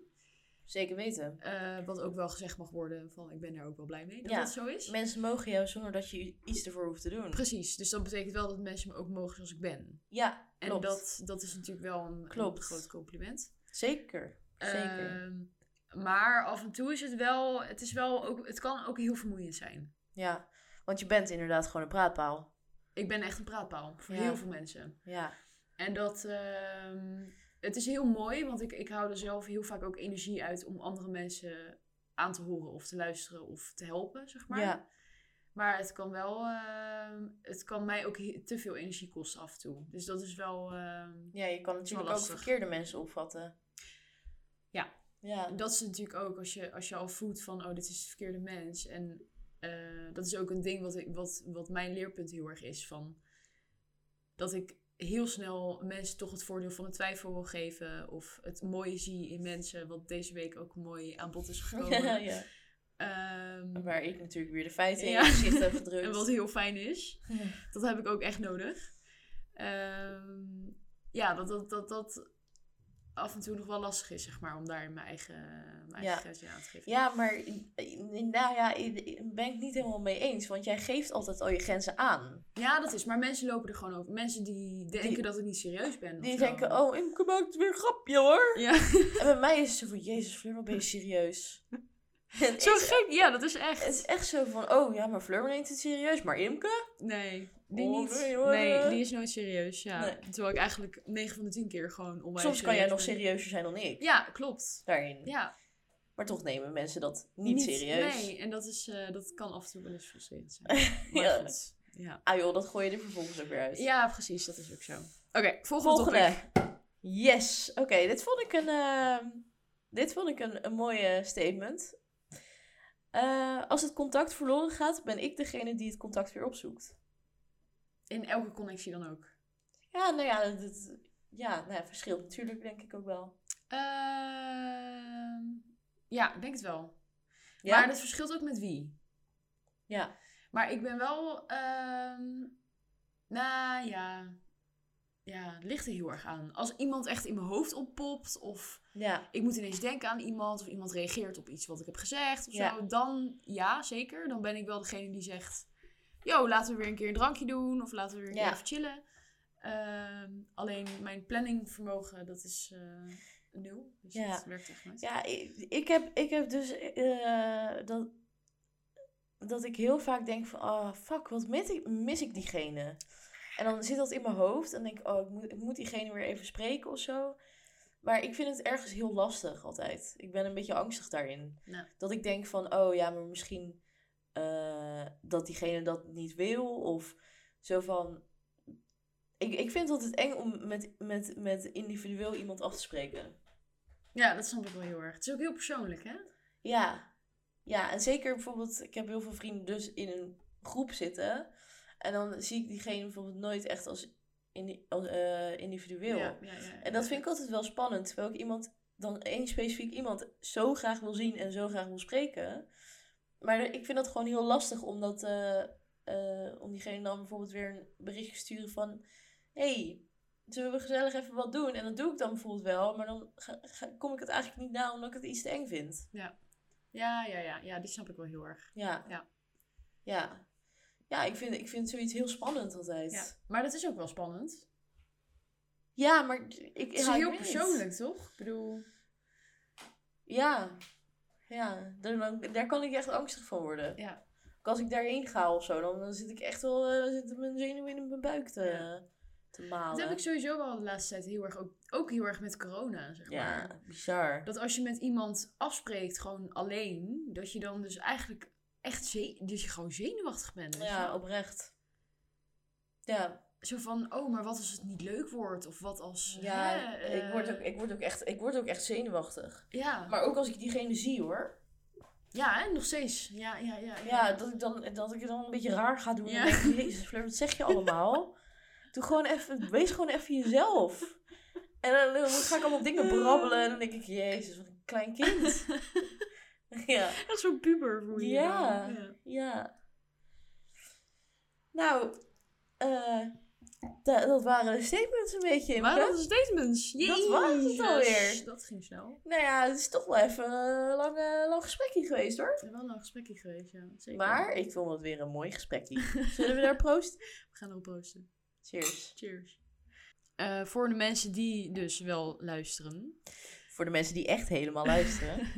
Speaker 2: Zeker weten.
Speaker 1: Eh, wat ook wel gezegd mag worden van ik ben daar ook wel blij mee dat
Speaker 2: Ja.
Speaker 1: dat zo is.
Speaker 2: Mensen mogen jou zonder dat je iets ervoor hoeft te doen.
Speaker 1: Precies, dus dat betekent wel dat mensen me ook mogen zoals ik ben.
Speaker 2: Ja,
Speaker 1: En
Speaker 2: klopt.
Speaker 1: dat, dat is natuurlijk wel een, een
Speaker 2: Klopt.
Speaker 1: groot compliment.
Speaker 2: Zeker. Zeker.
Speaker 1: Ehm, maar af en toe is het wel, het, is wel ook, het kan ook heel vermoeiend zijn.
Speaker 2: Ja, want je bent inderdaad gewoon een praatpaal.
Speaker 1: Ik ben echt een praatpaal voor
Speaker 2: Ja.
Speaker 1: heel veel mensen.
Speaker 2: Ja,
Speaker 1: En dat, ehm, het is heel mooi, want ik, ik hou er zelf heel vaak ook energie uit om andere mensen aan te horen of te luisteren of te helpen, zeg maar.
Speaker 2: Ja.
Speaker 1: Maar het kan wel, ehm, het kan mij ook he- te veel energie kosten af en toe. Dus dat is wel, ehm,
Speaker 2: ja je kan
Speaker 1: is wel
Speaker 2: natuurlijk ook
Speaker 1: lastig.
Speaker 2: verkeerde mensen opvatten.
Speaker 1: Ja.
Speaker 2: Ja,
Speaker 1: en dat is natuurlijk ook als je, als je al voelt van, oh, dit is de verkeerde mens. En eh, dat is ook een ding wat, ik, wat, wat mijn leerpunt heel erg is van, dat ik heel snel mensen toch het voordeel van de twijfel wil geven. Of het mooie zie in mensen, wat deze week ook mooi aan bod is gekomen.
Speaker 2: ja, ja.
Speaker 1: Ehm,
Speaker 2: Waar ik natuurlijk weer de feiten in
Speaker 1: Ja.
Speaker 2: je gezicht heb gedrukt.
Speaker 1: en wat heel fijn is.
Speaker 2: Ja.
Speaker 1: Dat heb ik ook echt nodig. Ehm, ja, dat dat, dat dat af en toe nog wel lastig is, zeg maar, om daar mijn eigen, mijn
Speaker 2: Ja.
Speaker 1: eigen grensje aan te geven.
Speaker 2: Ja, maar i- i- nou ja, i- i- ben ik niet helemaal mee eens. Want jij geeft altijd al je grenzen aan.
Speaker 1: Ja, dat is. Maar mensen lopen er gewoon over. Mensen die denken
Speaker 2: Die-
Speaker 1: dat ik niet serieus ben. of
Speaker 2: Die
Speaker 1: zo.
Speaker 2: denken, oh, Imke maakt weer een grapje hoor.
Speaker 1: Ja,
Speaker 2: En bij mij is het zo van, jezus Fleur, wat ben je serieus? En ik-
Speaker 1: zo gek. Ja, dat is
Speaker 2: Het
Speaker 1: echt.
Speaker 2: is echt zo van, oh ja, maar Fleur neemt het serieus. Maar Imke?
Speaker 1: Nee, die
Speaker 2: Oh,
Speaker 1: niet.
Speaker 2: nee, hoor.
Speaker 1: Nee, die is nooit serieus. Ja.
Speaker 2: Nee.
Speaker 1: Terwijl ik eigenlijk 9 van de 10 keer gewoon onwijs
Speaker 2: Soms kan jij nog
Speaker 1: ben.
Speaker 2: serieuzer zijn dan ik.
Speaker 1: Ja, klopt.
Speaker 2: Daarin.
Speaker 1: Ja,
Speaker 2: Maar toch nemen mensen dat niet, serieus.
Speaker 1: Nee, en dat, is, eh, dat kan af en toe wel eens frustrerend zijn. Maar
Speaker 2: Ja.
Speaker 1: goed. Ja.
Speaker 2: Ah joh, dat gooi je er vervolgens ook weer uit.
Speaker 1: Ja, precies, dat is ook zo. Oké, volgende. topic.
Speaker 2: Volgende. Yes. Oké, dit vond ik een, ehm, dit vond ik een, een mooie statement. Eh, als het contact verloren gaat, ben ik degene die het contact weer opzoekt.
Speaker 1: In elke connectie dan ook.
Speaker 2: Ja, nou ja, dat, dat- ja, nou ja verschilt natuurlijk denk ik ook wel.
Speaker 1: Ehm, ja, ik denk het wel.
Speaker 2: Ja,
Speaker 1: Maar dat verschilt ook met wie.
Speaker 2: ja.
Speaker 1: Maar ik ben wel. ehm nou ja. Ja, het ligt er heel erg aan. Als iemand echt in mijn hoofd oppopt, of
Speaker 2: ja.
Speaker 1: ik moet ineens denken aan iemand, of iemand reageert op iets wat ik heb gezegd, of
Speaker 2: Ja.
Speaker 1: zo, dan ja, zeker. Dan ben ik wel degene die zegt: Yo, laten we weer een keer een drankje doen, of laten we weer een
Speaker 2: Ja.
Speaker 1: keer even chillen. Ehm, alleen mijn planningvermogen, dat is eh, nul. Dus
Speaker 2: Ja.
Speaker 1: dat werkt echt niet.
Speaker 2: ja ik, ik, heb, ik heb dus eh, dat, dat ik heel vaak denk van, ah fuck, wat mis ik, mis ik diegene? En dan zit dat in mijn hoofd en denk ik, oh, ik moet, ik moet diegene weer even spreken of zo. Maar ik vind het ergens heel lastig altijd. Ik ben een beetje angstig daarin.
Speaker 1: Ja.
Speaker 2: Dat ik denk van, oh ja, maar misschien eh, dat diegene dat niet wil. Of zo van... Ik, ik vind het altijd eng om met, met, met individueel iemand af te spreken.
Speaker 1: Ja, dat snap ik wel heel erg. Het is ook heel persoonlijk, hè?
Speaker 2: Ja. Ja, en zeker bijvoorbeeld, ik heb heel veel vrienden dus in een groep zitten. En dan zie ik diegene bijvoorbeeld nooit echt als, indi- als, eh, individueel.
Speaker 1: Ja, ja, ja.
Speaker 2: En dat vind ik altijd wel spannend. Terwijl ik iemand, dan één specifiek iemand, zo graag wil zien en zo graag wil spreken. Maar ik vind dat gewoon heel lastig om, dat, eh, eh, om diegene dan bijvoorbeeld weer een berichtje te sturen van... hey, zullen we gezellig even wat doen? En dat doe ik dan bijvoorbeeld wel, maar dan ga- ga- kom ik het eigenlijk niet na omdat ik het iets te eng vind.
Speaker 1: Ja, ja, ja, ja, die snap ik wel heel erg.
Speaker 2: Ja.
Speaker 1: Ja.
Speaker 2: Ja. Ja, ik vind, ik vind zoiets heel spannend altijd.
Speaker 1: Ja.
Speaker 2: Ja,
Speaker 1: Maar dat is ook wel spannend.
Speaker 2: maar d- ik...
Speaker 1: Het is
Speaker 2: ja, ik
Speaker 1: heel
Speaker 2: weet het.
Speaker 1: persoonlijk, toch? Ik bedoel,
Speaker 2: Ja. Ja, daar, dan- daar kan ik echt angstig van worden.
Speaker 1: ja.
Speaker 2: Ook Als ik daarheen ga of zo, dan, dan zit ik echt wel... eh, Dan zitten mijn zenuwen in mijn buik te,
Speaker 1: Ja.
Speaker 2: te malen.
Speaker 1: Dat heb ik sowieso wel de laatste tijd heel erg, ook, ook heel erg met corona, zeg maar.
Speaker 2: Ja, bizar.
Speaker 1: Dat als je met iemand afspreekt, gewoon alleen, dat je dan dus eigenlijk echt ze- dat je gewoon zenuwachtig bent. weet je
Speaker 2: Ja,
Speaker 1: wel.
Speaker 2: oprecht. Ja,
Speaker 1: Zo van, oh, maar wat als het niet leuk wordt? Of wat als...
Speaker 2: ja
Speaker 1: hè, eh,
Speaker 2: ik, word ook, ik, word ook echt, ik word ook echt zenuwachtig.
Speaker 1: Ja.
Speaker 2: Maar ook als ik diegene zie, hoor.
Speaker 1: ja, hè, nog steeds. Ja, ja, ja.
Speaker 2: Ja, dat ik, dan, dat ik het dan een beetje raar ga doen.
Speaker 1: Ja.
Speaker 2: En denk, Jezus, Fleur, wat zeg je allemaal? Doe gewoon even, wees gewoon even jezelf. En dan, dan ga ik allemaal dingen brabbelen. En dan denk ik, Jezus, wat een klein kind. ja,
Speaker 1: Dat is zo'n puber voel je je
Speaker 2: Ja.
Speaker 1: dan. Ja.
Speaker 2: ja. Nou, eh, Da- dat waren de statements een beetje.
Speaker 1: Maar
Speaker 2: Imke.
Speaker 1: dat is statements.
Speaker 2: Dat was het
Speaker 1: Jezus,
Speaker 2: alweer.
Speaker 1: Dat ging snel.
Speaker 2: Nou ja, het is toch wel even een lang, eh, lang gesprekje geweest hoor.
Speaker 1: We hebben wel een lang gesprekje geweest, ja. Zeker.
Speaker 2: Maar ik vond het weer een mooi gesprekje. Zullen we daar proosten?
Speaker 1: We gaan erop posten.
Speaker 2: Cheers.
Speaker 1: Cheers. Eh, voor de mensen die dus wel luisteren.
Speaker 2: Voor de mensen die echt helemaal luisteren.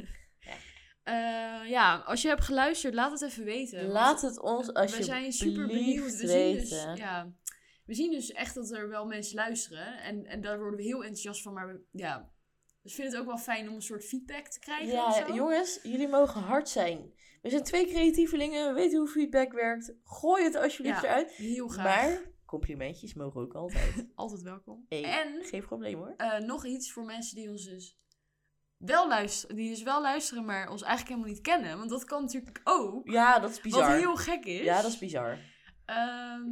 Speaker 1: Eh, ja, als je hebt geluisterd, laat het even weten.
Speaker 2: Laat het ons
Speaker 1: Want
Speaker 2: alsjeblieft
Speaker 1: We zijn super benieuwd. We zien, dus, ja, we zien dus echt dat er wel mensen luisteren. En, en daar worden we heel enthousiast van. Maar we, ja, dus ik vind het ook wel fijn om een soort feedback te krijgen. of
Speaker 2: Ja,
Speaker 1: zo.
Speaker 2: jongens, jullie mogen hard zijn. We zijn twee creatievelingen, we weten hoe feedback werkt. Gooi het alsjeblieft
Speaker 1: Ja,
Speaker 2: eruit.
Speaker 1: Heel graag.
Speaker 2: Maar complimentjes mogen ook altijd.
Speaker 1: Altijd welkom.
Speaker 2: Hey.
Speaker 1: En
Speaker 2: Geen probleem hoor.
Speaker 1: eh, nog iets voor mensen die ons dus wel luisteren, die dus wel luisteren, maar ons eigenlijk helemaal niet kennen. Want dat kan natuurlijk ook.
Speaker 2: Ja, dat is bizar.
Speaker 1: Wat heel gek is.
Speaker 2: Ja, dat is bizar.
Speaker 1: Ehm,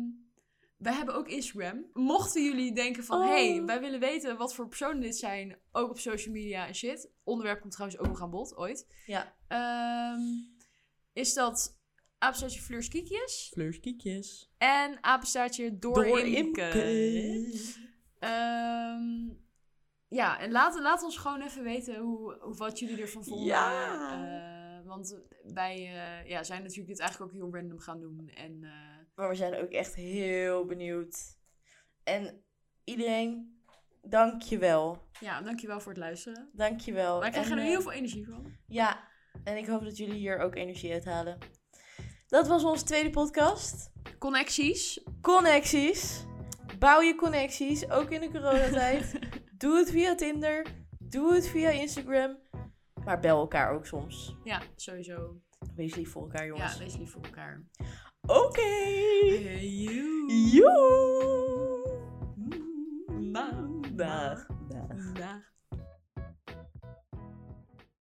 Speaker 1: wij hebben ook Instagram. Mochten jullie denken van...
Speaker 2: Oh.
Speaker 1: hey, wij willen weten wat voor personen dit zijn... ook op social media en shit. Onderwerp komt trouwens ook nog aan bod, ooit.
Speaker 2: Ja.
Speaker 1: Ehm, is dat apenstaartje Fleurs Kiekjes...
Speaker 2: Fleurskiekjes.
Speaker 1: en apenstaartje Door,
Speaker 2: Door
Speaker 1: Imke.
Speaker 2: Imke.
Speaker 1: Ehm, ja, en laat, laat ons gewoon even weten hoe, hoe- wat jullie ervan vonden.
Speaker 2: Ja.
Speaker 1: Eh, want wij eh, ja, zijn natuurlijk dit eigenlijk ook heel random gaan doen. En eh,
Speaker 2: Maar we zijn ook echt heel benieuwd. En iedereen, dankjewel.
Speaker 1: ja, dankjewel voor het luisteren.
Speaker 2: Dankjewel.
Speaker 1: Wij krijgen
Speaker 2: En,
Speaker 1: er
Speaker 2: eh,
Speaker 1: heel veel energie van.
Speaker 2: Ja, en ik hoop dat jullie hier ook energie uit halen. Dat was onze tweede podcast.
Speaker 1: Connecties.
Speaker 2: Connecties. Bouw je connecties, ook in de coronatijd. Doe het via Tinder. Doe het via Instagram. Maar bel elkaar ook soms.
Speaker 1: Ja, sowieso.
Speaker 2: Wees lief voor elkaar, jongens.
Speaker 1: Ja, wees lief voor elkaar.
Speaker 2: Oké. Joe.
Speaker 1: Maandag.
Speaker 2: Dag.
Speaker 1: Dag.